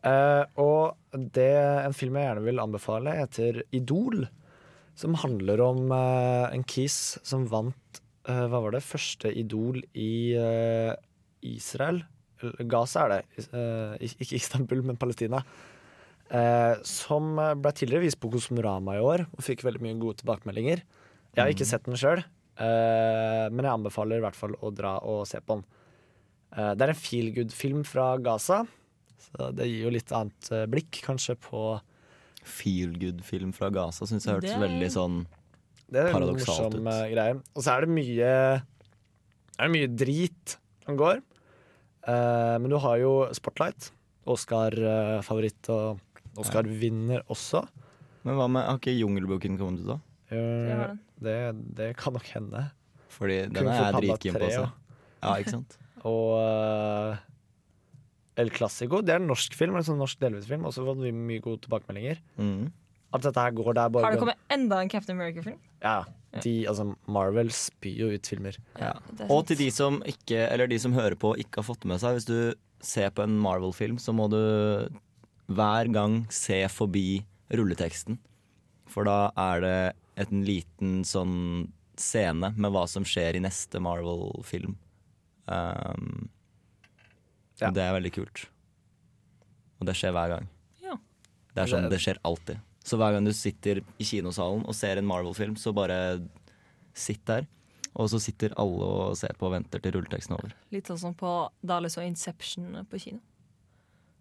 Speaker 2: Eh, og det en film jeg gjerne vil anbefale, heter Idol. Som handler om eh, en kis som vant eh, Hva var det? Første Idol i eh, Israel. Eller Gaza er det. Is- eh, ik- ikke Istanbul, men Palestina. Eh, som eh, ble tidligere vist på Kosmorama i år og fikk veldig mye gode tilbakemeldinger. Jeg har ikke sett den sjøl, men jeg anbefaler i hvert fall å dra og se på den. Eh, Det er en feel good-film fra Gaza, så det gir jo litt annet eh, blikk kanskje på
Speaker 4: Feel good-film fra Gaza syns jeg hørtes
Speaker 3: Det-
Speaker 4: veldig sånn
Speaker 2: Det er en
Speaker 4: Paradoksalt ut.
Speaker 2: morsom eh, greie. Og så er det mye Er det mye drit som går. Eh, men du har jo Spotlight, Oscar-favoritt og Oscar-vinner også.
Speaker 4: Men hva med, har ikke Jungelboken kommet ut, da?
Speaker 3: har
Speaker 2: Eh,
Speaker 3: den.
Speaker 2: det, det kan nok hende.
Speaker 4: Fordi
Speaker 2: Kung
Speaker 4: den er jeg
Speaker 2: Fu Panda
Speaker 4: dritkeen på å
Speaker 2: 3
Speaker 4: se.
Speaker 2: og-
Speaker 4: Ja, ikke sant?
Speaker 2: Og eh, El Clásico. Det er en norsk film, en sånn norsk delvisfilm. Også fått mye- mye gode tilbakemeldinger.
Speaker 4: Mm.
Speaker 2: At dette her går der bare
Speaker 3: Har det kommet enda en Captain America-film?
Speaker 2: Ja, de, altså Marvel spyr jo ut filmer.
Speaker 4: Ja.
Speaker 3: det er
Speaker 4: Og til
Speaker 3: sant.
Speaker 4: de som ikke Eller de som hører på og ikke har fått med seg Hvis du ser på en Marvel-film Så må du hver gang se forbi rulleteksten For da er det et- en liten sånn scene Med hva som skjer i neste Marvel-film um,
Speaker 2: Ja.
Speaker 4: og Det er veldig kult Og det skjer hver gang
Speaker 3: Ja.
Speaker 4: Det er sånn, det skjer alltid Så hver gang du sitter i kinosalen og ser en Marvel-film Så bare sitt der og så sitter alle og ser på og venter til rulleteksten er over.
Speaker 3: Litt sånn som på da alle så Inception på kino.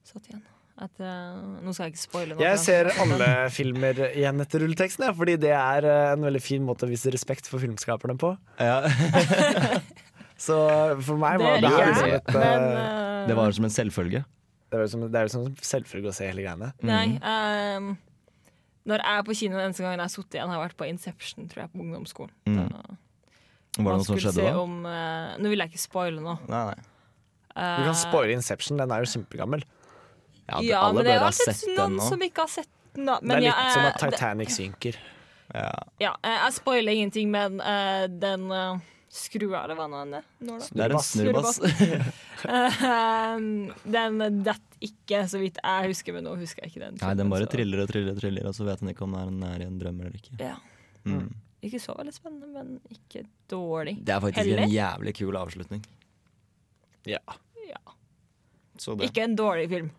Speaker 3: Satt igjen. At, eh, nå skal jeg ikke spoile noe.
Speaker 2: Jeg ser alle filmer igjen etter rulleteksten, ja, fordi det er eh, en veldig fin måte å vise respekt for filmskaperne på. Så for meg
Speaker 3: det
Speaker 2: var det,
Speaker 3: gjør
Speaker 2: her
Speaker 3: jeg,
Speaker 2: liksom et
Speaker 3: men,
Speaker 2: eh,
Speaker 3: eh,
Speaker 4: Det var som en selvfølge.
Speaker 2: Det er jo som, det er jo som selvfølgelig å se hele greiene.
Speaker 3: Nei.
Speaker 4: mm.
Speaker 3: eh, når jeg er på kino, den eneste gangen jeg har sittet igjen, har jeg vært på Inception, tror jeg, på ungdomsskolen.
Speaker 4: Mm.
Speaker 3: Da-
Speaker 4: Var det
Speaker 3: man
Speaker 4: noe som
Speaker 3: skulle
Speaker 4: skjedde
Speaker 3: se
Speaker 4: da?
Speaker 3: om, eh, nå vil jeg ikke spoile noe.
Speaker 4: Nei, nei.
Speaker 2: Du
Speaker 3: Eh.
Speaker 2: kan spoile Inception, den er jo kjempegammel.
Speaker 4: Ja,
Speaker 3: ja,
Speaker 4: alle
Speaker 3: men det
Speaker 4: burde
Speaker 3: er
Speaker 4: ha
Speaker 3: alltid
Speaker 4: sett den
Speaker 3: noen
Speaker 4: nå.
Speaker 3: som ikke har sett den. Da. Men
Speaker 2: det er litt
Speaker 3: jeg, eh,
Speaker 2: som at
Speaker 3: det-
Speaker 2: Titanic synker.
Speaker 4: Ja.
Speaker 3: ja, eh, jeg spoiler ingenting, men eh, den eh, skrua, eller hva nå enn det når da?
Speaker 4: Det er en
Speaker 3: Snurrebass.
Speaker 4: snurrebass.
Speaker 3: Eh, den detter ikke, så vidt jeg husker, men nå husker jeg ikke den.
Speaker 4: Nei, den
Speaker 3: filmen,
Speaker 4: bare
Speaker 3: så-
Speaker 4: triller og triller og triller, og så vet han ikke om den er i en drøm eller ikke.
Speaker 3: Ja.
Speaker 4: Mm.
Speaker 3: Ikke så veldig spennende, men ikke dårlig.
Speaker 4: Det er faktisk en
Speaker 3: Heller.
Speaker 4: jævlig kul avslutning.
Speaker 2: Ja.
Speaker 3: Ja.
Speaker 4: Så det.
Speaker 3: Ikke en dårlig film.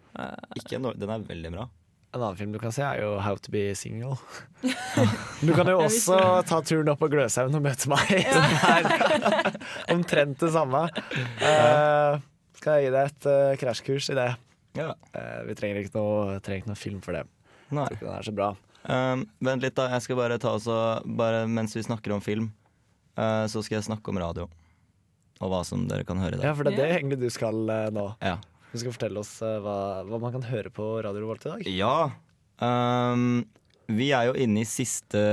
Speaker 4: Ikke en dårlig- den er veldig bra.
Speaker 2: En annen film du kan se, er jo How to be single. Du kan jo
Speaker 3: Jeg visste
Speaker 2: også ta turen opp på Gløshaugen og møte meg. Som er omtrent det samme. Eh, skal jeg gi deg et eh, krasjkurs i det?
Speaker 4: Ja.
Speaker 2: Eh, vi trenger ikke noe, trenger ikke noe film for det.
Speaker 4: Nei.
Speaker 2: Jeg tror ikke den er så bra.
Speaker 4: Um, vent litt, da. Jeg skal bare ta oss og bare, Mens vi snakker om film, eh, så skal jeg snakke om radio. Og hva som dere kan høre
Speaker 2: Ja,
Speaker 4: der.
Speaker 2: for det er det egentlig du skal eh, nå.
Speaker 4: Ja.
Speaker 2: Du skal fortelle oss eh, hva, hva man kan høre på Radio Revolt i dag.
Speaker 4: Ja. ehm, vi er jo inne i siste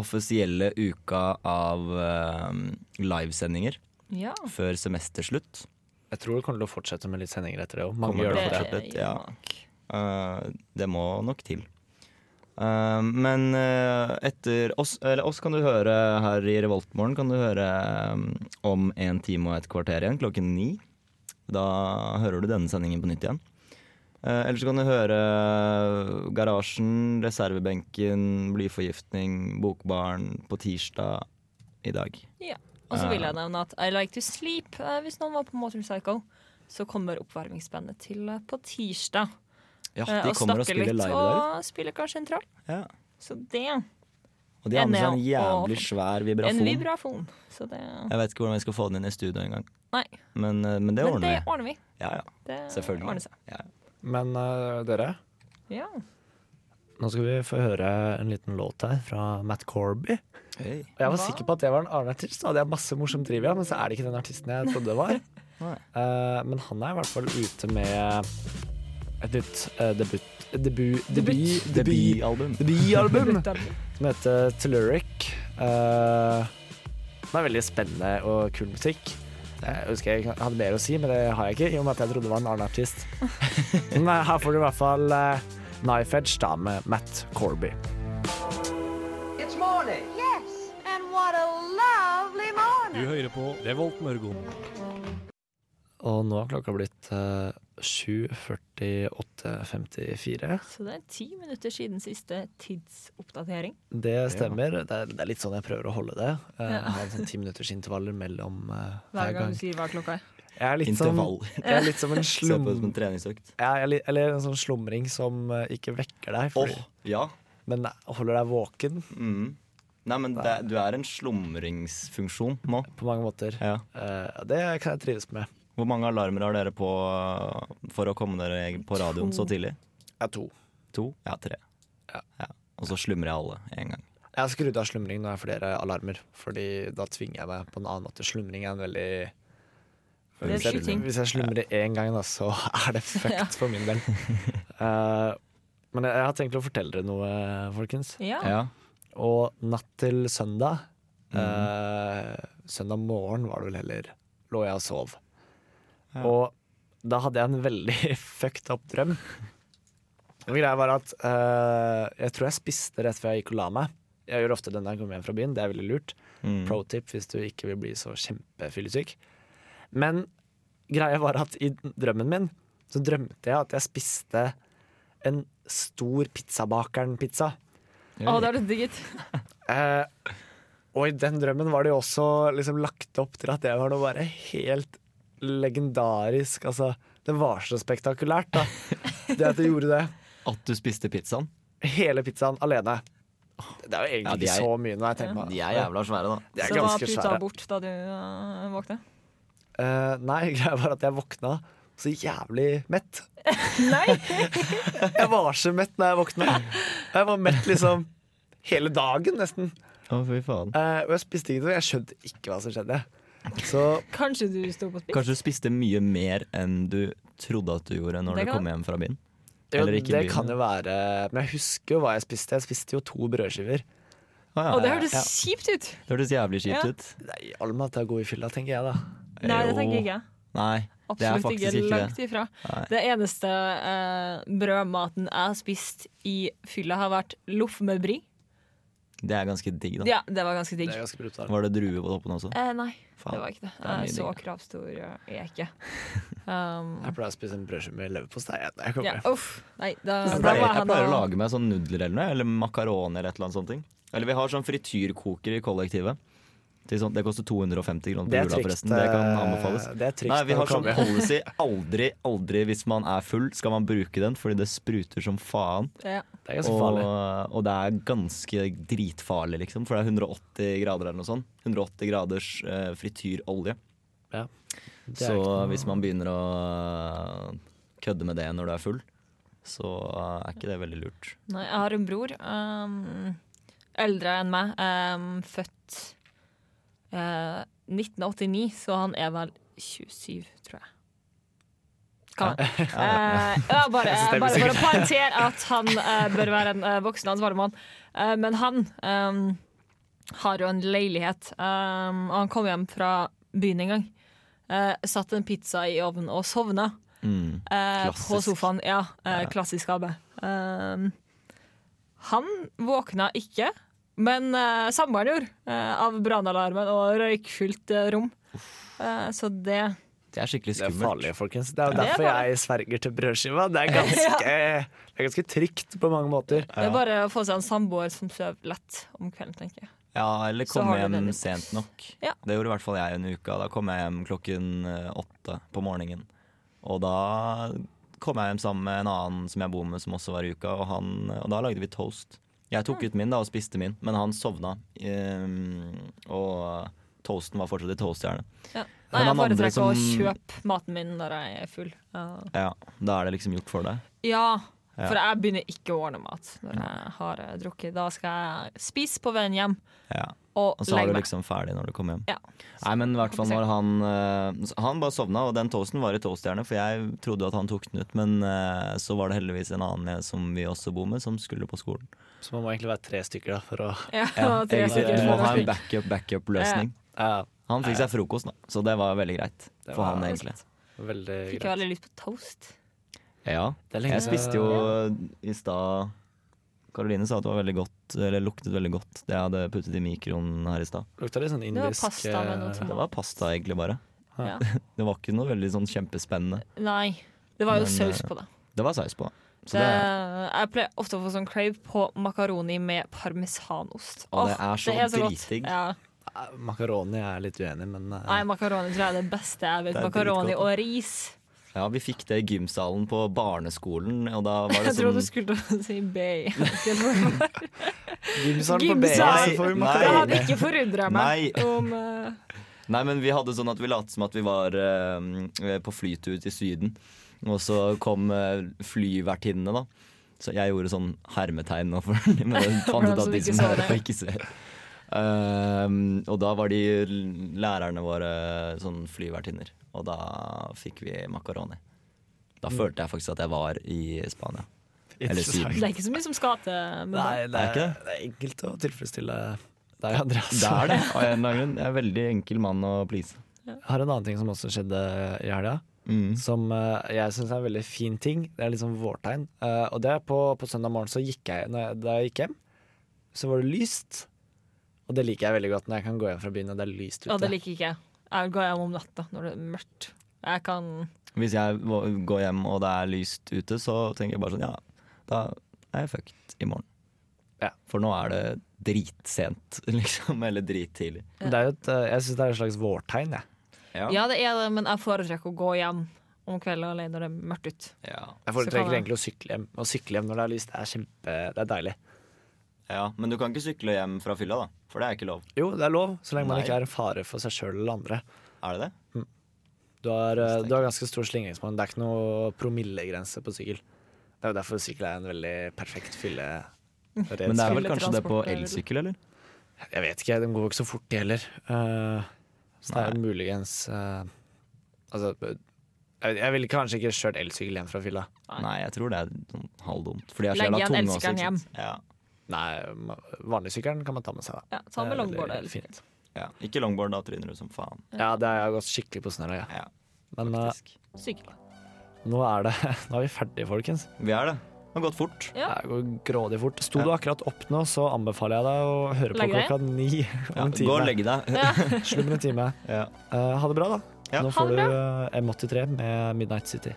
Speaker 4: offisielle uka av ehm, livesendinger
Speaker 3: Ja.
Speaker 4: før semesterslutt.
Speaker 2: Jeg tror det kommer til å fortsette med litt sendinger etter det òg. Mange
Speaker 4: Kommer
Speaker 2: gjør
Speaker 4: til
Speaker 2: det
Speaker 4: å
Speaker 2: for
Speaker 4: fortsette
Speaker 2: det.
Speaker 4: litt, ja. Eh, det må nok til. Eh, men eh, etter oss, eller oss kan du høre her i Revoltmorgen kan du høre eh, om en time og et kvarter igjen, klokken ni. Da hører du denne sendingen på nytt igjen. Eh, Eller så kan du høre Garasjen, Reservebenken, Blyforgiftning, Bokbaren på tirsdag i dag.
Speaker 3: Og så vil jeg nevne at I Like To Sleep, eh, hvis noen var på Motor Psycho, så kommer oppvarmingsbandet til eh, på tirsdag.
Speaker 4: Ja,
Speaker 3: eh,
Speaker 4: de kommer og
Speaker 3: snakker
Speaker 4: spiller
Speaker 3: litt,
Speaker 4: live der.
Speaker 3: Og spiller kanskje en trall.
Speaker 4: Ja.
Speaker 3: Så det
Speaker 4: Og de har med seg en
Speaker 3: NEO og-
Speaker 4: jævlig svær
Speaker 3: En
Speaker 4: vibrafon.
Speaker 3: vibrafon. Så det
Speaker 4: Jeg vet ikke hvordan vi skal få den inn i studio engang,
Speaker 3: Nei.
Speaker 4: men, eh, men det
Speaker 3: Men
Speaker 4: ordner
Speaker 3: det
Speaker 4: vi.
Speaker 3: ordner vi.
Speaker 4: Ja, ja.
Speaker 3: Det
Speaker 4: Selvfølgelig.
Speaker 3: ordner seg.
Speaker 4: Ja.
Speaker 2: Men eh, dere,
Speaker 3: Ja.
Speaker 2: nå skal vi få høre en liten låt her fra Matt Corby.
Speaker 4: Hei.
Speaker 2: Og Jeg var
Speaker 3: Hva?
Speaker 2: sikker på at det var en annen artist, da hadde jeg masse morsom trivia, men så er det ikke den artisten jeg trodde det var.
Speaker 4: Nei.
Speaker 2: Eh, men han er i hvert fall ute med et nytt eh, debut... Debut... Debut... Debut...
Speaker 4: Debutalbum.
Speaker 2: Debutalbum
Speaker 3: Debut.
Speaker 2: som heter Telluric. Eh, den er veldig spennende og kul musikk. Jeg husker jeg hadde mer å si, men det har jeg ikke, i og med at jeg trodde det var en annen artist. Men eh, her får du i hvert fall eh, Knife Edge da, med Matt Corby.
Speaker 6: It's morning.
Speaker 5: Yes, and what a lovely
Speaker 7: Du
Speaker 5: morning.
Speaker 7: hører på Revolt Mørgon.
Speaker 2: Og nå har klokka blitt eh, 7.48.54.
Speaker 3: Så det er ti minutter siden siste tidsoppdatering.
Speaker 2: Det stemmer. Det er, det er litt sånn jeg prøver å holde det. Eh,
Speaker 3: Ja.
Speaker 2: Ha en sånn ti minutters intervaller mellom eh,
Speaker 3: Hver gang du sier hva klokka er.
Speaker 2: Jeg
Speaker 4: sånn
Speaker 2: er litt, som,
Speaker 4: Intervall.
Speaker 2: jeg er litt som en
Speaker 4: Se på det
Speaker 2: slum...
Speaker 4: som en treningsøkt.
Speaker 2: Ja, jeg er litt- eller en sånn slumring som eh, ikke vekker deg,
Speaker 4: Åh,
Speaker 2: fordi,
Speaker 4: ja.
Speaker 2: men holder deg våken
Speaker 4: Mm. Nei, men det, du er en slumringsfunksjon nå.
Speaker 2: på mange måter.
Speaker 4: Ja.
Speaker 2: Eh, det kan jeg trives med.
Speaker 4: Hvor mange alarmer har dere på uh, for å komme dere på radioen så tidlig?
Speaker 2: Jeg er to.
Speaker 4: To? Ja, tre.
Speaker 2: Ja.
Speaker 4: Og så slumrer jeg alle en gang.
Speaker 2: Jeg har skrudd av slumring når jeg har flere alarmer, Fordi da tvinger jeg meg på en annen måte. Slumring er en veldig
Speaker 3: Det er
Speaker 2: hvis jeg,
Speaker 3: skyting.
Speaker 2: hvis jeg slumrer én gang, da, så er det fucked for min del. Eh, men jeg, jeg har tenkt å fortelle dere noe, folkens.
Speaker 3: Ja.
Speaker 4: Ja.
Speaker 2: Og natt til søndag eh, Søndag morgen var det vel heller Lå jeg og sov Og da hadde jeg en veldig fucked up drøm Og greia var at eh, Jeg tror jeg spiste rett før jeg gikk og la meg Jeg gjør ofte det når jeg kommer hjem fra byen Det er veldig lurt
Speaker 4: Mm.
Speaker 2: Pro tip hvis du ikke vil bli så kjempefyllesyk Men greia var at i drømmen min Så drømte jeg at jeg spiste En stor pizzabakeren pizza
Speaker 3: Å, det er det digget.
Speaker 2: Eh, og i den drømmen var det jo også liksom lagt opp til at det var noe bare helt legendarisk. Altså, det var så spektakulært, da. Det at jeg gjorde det.
Speaker 4: At du spiste pizzaen?
Speaker 2: Hele pizzaen alene. Det er jo
Speaker 4: Ja, de
Speaker 2: egentlig
Speaker 4: er-
Speaker 2: ikke så mye når jeg tenker meg
Speaker 4: De er jævla svære, da.
Speaker 2: De er
Speaker 3: Så var
Speaker 2: ganske
Speaker 3: puta
Speaker 2: svære.
Speaker 3: bort da du uh, våkna?
Speaker 2: Eh, nei, greia var at jeg våkna så jævlig mett.
Speaker 3: Nei!
Speaker 2: Jeg var så mett når jeg våkna. Jeg var mett liksom hele dagen, nesten.
Speaker 4: Å, fy faen.
Speaker 2: Eh, og jeg spiste ingenting. Jeg skjønte ikke hva som skjedde. Så
Speaker 3: Kanskje du sto på spill?
Speaker 4: Kanskje du spiste mye mer enn du trodde at du gjorde når
Speaker 3: Det
Speaker 4: du
Speaker 3: kan
Speaker 4: kom hjem fra byen?
Speaker 2: Jo,
Speaker 4: Eller ikke
Speaker 2: det
Speaker 4: byen.
Speaker 2: kan jo være Men jeg husker jo hva jeg spiste. Jeg spiste jo to brødskiver.
Speaker 4: Å, ja.
Speaker 3: Å, det hørtes
Speaker 2: Ja.
Speaker 3: kjipt ut!
Speaker 4: Det hørtes jævlig kjipt
Speaker 3: Ja.
Speaker 4: ut.
Speaker 2: Nei, all mat er god i fylla, tenker jeg da.
Speaker 3: Nei, det
Speaker 4: Jo.
Speaker 3: tenker ikke jeg.
Speaker 4: Nei, det er
Speaker 3: Absolutt
Speaker 4: faktisk
Speaker 3: ikke.
Speaker 4: ikke
Speaker 3: Langt
Speaker 4: det.
Speaker 3: ifra.
Speaker 4: Nei.
Speaker 3: Det eneste eh, brødmaten jeg har spist i fylla, har vært loff med brie.
Speaker 4: Det er ganske digg, da.
Speaker 3: Ja, det var ganske digg.
Speaker 2: Det er ganske brutalt.
Speaker 4: Var det druer på toppen også?
Speaker 3: Eh, nei, det
Speaker 4: Faen.
Speaker 3: var ikke det.
Speaker 4: er mye
Speaker 3: Eh, så
Speaker 4: digg, da.
Speaker 3: kravstor eh, er jeg ikke. Um,
Speaker 2: Jeg pleier å spise en brødskive med leverpostei. jeg, når Jeg
Speaker 3: ja,
Speaker 2: kommer.
Speaker 3: uff. Nei, da,
Speaker 4: Jeg
Speaker 3: da
Speaker 4: pleier,
Speaker 3: var
Speaker 4: jeg
Speaker 3: han
Speaker 4: pleier å
Speaker 3: da-
Speaker 4: lage meg sånn nudler eller noe, eller makaroni eller et eller annet sånt. ting. Eller vi har sånn frityrkoker i kollektivet. Til sånn, det koster 250 kroner på
Speaker 2: Det er
Speaker 4: jula,
Speaker 2: trygt,
Speaker 4: forresten. Det kan
Speaker 2: eh,
Speaker 4: anbefales.
Speaker 2: det er trygt
Speaker 4: Nei, vi
Speaker 2: når
Speaker 4: har
Speaker 2: det
Speaker 4: sånn
Speaker 2: kommer.
Speaker 4: policy. Aldri, aldri hvis man er full, skal man bruke den, fordi det spruter som faen.
Speaker 3: Ja.
Speaker 2: Det er ganske
Speaker 4: Og,
Speaker 2: farlig.
Speaker 4: og det er ganske dritfarlig, liksom. For det er 180 grader eller noe sånt. 180 graders eh, frityrolje.
Speaker 2: Ja. Det er
Speaker 4: Så
Speaker 2: ikke noe-
Speaker 4: hvis man begynner å eh, kødde med det når du er full, så eh, er ikke det veldig lurt.
Speaker 3: Nei, jeg har en bror. Um, eldre enn meg. Um, født eh, 1989, så han er vel 27, tror jeg. Kan han? Eh, ja, bare, bare, bare for å poengtere at han eh, bør være en eh, voksen ansvarlig mann. Eh, men han um, har jo en leilighet, um, og han kom hjem fra byen en gang. Eh, satt en pizza i ovnen og sovna.
Speaker 4: Mm.
Speaker 3: Eh, på
Speaker 4: Klassisk.
Speaker 3: sofaen. Ja, eh, klassisk AB. Um, han våkna ikke, men eh, samboeren gjorde, eh, av brannalarmen og røykfylt eh, rom. Eh, så det
Speaker 4: Det er skikkelig
Speaker 2: Det er
Speaker 4: skummelt.
Speaker 2: farlig, folkens. Det er jo
Speaker 3: Det er
Speaker 2: derfor
Speaker 3: farlig.
Speaker 2: jeg sverger til brødskiva. Det er ganske, det er ganske trygt på mange måter.
Speaker 3: Det er bare å få seg en samboer som sover lett om kvelden, tenker jeg.
Speaker 4: Ja, eller
Speaker 3: Så
Speaker 4: komme
Speaker 3: har du det
Speaker 4: hjem
Speaker 3: litt.
Speaker 4: sent nok.
Speaker 3: Ja.
Speaker 4: Det gjorde i hvert fall jeg en uke. Da kom jeg hjem klokken eh, åtte på morgenen. Og da kom jeg hjem sammen med en annen som jeg bor med, som også var i uka, og, han, og da lagde vi toast. Jeg
Speaker 3: Mm.
Speaker 4: tok ut min da og spiste min, men han sovna. ehm, og toasten var fortsatt i toastjernet.
Speaker 3: Ja. Nei,
Speaker 4: Men
Speaker 3: jeg
Speaker 4: han andre
Speaker 3: foretrekker å
Speaker 4: som-
Speaker 3: kjøpe maten min når jeg er full. Ja.
Speaker 4: Ja, da er det liksom gjort for deg.
Speaker 3: Ja,
Speaker 4: Ja.
Speaker 3: for jeg begynner ikke å ordne mat når jeg har eh, drukket. Da skal jeg spise på veien hjem
Speaker 4: Ja.
Speaker 3: og
Speaker 4: Og så er
Speaker 3: legge
Speaker 4: du
Speaker 3: meg.
Speaker 4: liksom ferdig når du kommer hjem.
Speaker 3: Ja.
Speaker 4: Nei, men i hvert fall når han eh, Han bare sovna, og den toasten var i toastjernet, for jeg trodde at han tok den ut. Men eh, så var det heldigvis en annen jeg- som vi også bor med, som skulle på skolen.
Speaker 2: Så man må egentlig være tre stykker da, for å
Speaker 3: Ja, og tre
Speaker 4: egentlig,
Speaker 3: stykker
Speaker 4: du må
Speaker 3: for å
Speaker 4: ha en
Speaker 3: spise.
Speaker 4: backup, backup-løsning.
Speaker 2: ja,
Speaker 4: Han fikk seg frokost, da, så det var veldig greit
Speaker 2: Det
Speaker 4: for
Speaker 2: var-
Speaker 4: han, egentlig.
Speaker 2: Veldig
Speaker 3: Fikk jeg
Speaker 2: greit.
Speaker 3: veldig lyst på toast.
Speaker 4: Ja.
Speaker 2: Det er lenge
Speaker 4: Jeg
Speaker 2: siden-
Speaker 4: spiste jo i stad Karoline sa at det var veldig godt, eller luktet veldig godt, det jeg hadde puttet i mikroen her i stad.
Speaker 2: Lukta litt sånn
Speaker 3: var
Speaker 2: indisk
Speaker 3: pasta med noe
Speaker 2: eh,
Speaker 3: tomat.
Speaker 4: Det var pasta, egentlig, bare.
Speaker 3: Ja.
Speaker 4: Det var ikke noe veldig sånn kjempespennende.
Speaker 3: Nei, det var jo
Speaker 4: Men,
Speaker 3: saus
Speaker 4: eh,
Speaker 3: på det.
Speaker 4: Det var saus på. Så
Speaker 3: det.
Speaker 4: det er
Speaker 3: Jeg pleier ofte å få sånn crave på makaroni med parmesanost.
Speaker 4: Å, det
Speaker 3: Åh,
Speaker 4: er så
Speaker 3: godt.
Speaker 4: dritdigg.
Speaker 3: Ja.
Speaker 2: eh, Makaroni er jeg litt uenig i, men eh,
Speaker 3: Nei, makaroni tror jeg er det beste jeg vet.
Speaker 4: Det er
Speaker 3: Makaroni
Speaker 4: dritgodt.
Speaker 3: og ris.
Speaker 4: Ja, vi fikk det i gymsalen på barneskolen, og da var det
Speaker 3: Jeg trodde du
Speaker 4: sånn
Speaker 3: skulle si bay.
Speaker 2: gymsal på BS,
Speaker 3: Gymsal!
Speaker 2: så
Speaker 4: Nei,
Speaker 2: får vi
Speaker 3: Det
Speaker 2: makaroni.
Speaker 3: hadde ikke forundra meg om eh,
Speaker 4: Nei, men vi hadde sånn at vi lot som at vi var eh, på flytur til Syden. Og så kom uh, flyvertinnene, da. Så jeg gjorde sånn hermetegn nå, for men jeg fant ut
Speaker 3: dem
Speaker 4: at
Speaker 3: som
Speaker 4: de
Speaker 3: ikke
Speaker 4: som
Speaker 3: så
Speaker 4: hører
Speaker 3: det.
Speaker 4: på, ikke ser. Ehm, og da var de lærerne våre sånn flyvertinner, og da fikk vi makaroni.
Speaker 3: Mm.
Speaker 4: Da følte jeg faktisk at jeg var i Spania. Eller Syden.
Speaker 3: Det er ikke så mye som skal til med det.
Speaker 2: Nei, det
Speaker 4: Er
Speaker 2: er,
Speaker 4: ikke det?
Speaker 2: det er enkelt å tilfredsstille deg, Andreas.
Speaker 4: Det er det. Av en eller annen grunn. Jeg er en veldig enkel mann å please.
Speaker 2: Jeg har en annen ting som også skjedde i helga,
Speaker 4: Mm.
Speaker 2: som eh, jeg syns er en veldig fin ting. Det er liksom vårtegn. Eh, og det er på, på søndag morgen så gikk jeg, når jeg, da jeg gikk hjem, så var det lyst. Og det liker jeg veldig godt når jeg kan gå hjem fra byen og det er lyst ute.
Speaker 3: Og det liker ikke jeg. Jeg går hjem om natta når det er mørkt. Jeg kan
Speaker 4: Hvis jeg må- går hjem og det er lyst ute, så tenker jeg bare sånn Ja, da er jeg fucked i morgen.
Speaker 2: Ja.
Speaker 4: For nå er det dritsent, liksom. Eller drittidlig.
Speaker 2: Men det er jo et, eh, jeg syns det er et slags vårtegn, jeg.
Speaker 3: Ja, det er det, men jeg foretrekker å gå hjem om kvelden alene når det er mørkt ute.
Speaker 4: Ja.
Speaker 2: Jeg
Speaker 3: Så kan
Speaker 2: foretrekker
Speaker 3: jeg-
Speaker 2: egentlig å sykle hjem. Å sykle hjem når det er lyst, det er kjempe Det er deilig.
Speaker 4: ja. Men du kan ikke sykle hjem fra fylla, da. For det er ikke lov.
Speaker 2: Jo, det er lov, så lenge man
Speaker 4: Nei.
Speaker 2: ikke er en fare for seg sjøl eller andre.
Speaker 4: Er det det?
Speaker 2: Du har, eh, du har ganske stor slingringsmonn. Det er ikke noe promillegrense på sykkel. Det er jo derfor sykkel er en veldig perfekt fylle.
Speaker 4: Men det er vel
Speaker 3: Fylle
Speaker 4: kanskje det på
Speaker 3: transport, eller?
Speaker 4: elsykkel, eller?
Speaker 2: Jeg vet ikke, de går jo ikke så fort de heller. Eh, så det er muligens eh, Altså, jeg, jeg ville kanskje ikke kjørt elsykkel hjem fra fylla.
Speaker 3: Nei.
Speaker 4: Nei, jeg tror det er sånn halvdumt. For de er så
Speaker 3: Legg
Speaker 4: jævla
Speaker 3: igjen
Speaker 4: tunge
Speaker 3: elsykkelen
Speaker 4: også. ikke sant? Ja.
Speaker 2: Nei, ma- vanlig sykkelen kan man ta med seg, da.
Speaker 3: Ja, ta med
Speaker 2: Det er
Speaker 3: longboard
Speaker 2: veldig
Speaker 3: eller
Speaker 2: fint.
Speaker 4: ja. Ikke longboard, da tryner du som faen.
Speaker 2: Ja, det har gått skikkelig på snørra, ja.
Speaker 4: Ja,
Speaker 2: Men eh,
Speaker 4: faktisk.
Speaker 3: sykkel.
Speaker 2: nå er det Nå er vi ferdige, folkens.
Speaker 4: Vi er det. Det har gått fort.
Speaker 3: Ja.
Speaker 2: Det går grådig fort. Sto du akkurat opp nå, så anbefaler jeg deg å høre på
Speaker 3: Legg deg.
Speaker 2: klokka ni
Speaker 4: Ja,
Speaker 2: om en
Speaker 4: gå og
Speaker 2: time.
Speaker 4: legg deg.
Speaker 2: Slummer en time.
Speaker 4: Ja.
Speaker 2: Eh, ha det bra, da.
Speaker 4: Ja.
Speaker 2: Nå
Speaker 3: Ha
Speaker 2: får
Speaker 3: det
Speaker 2: du eh, M83 med Midnight City.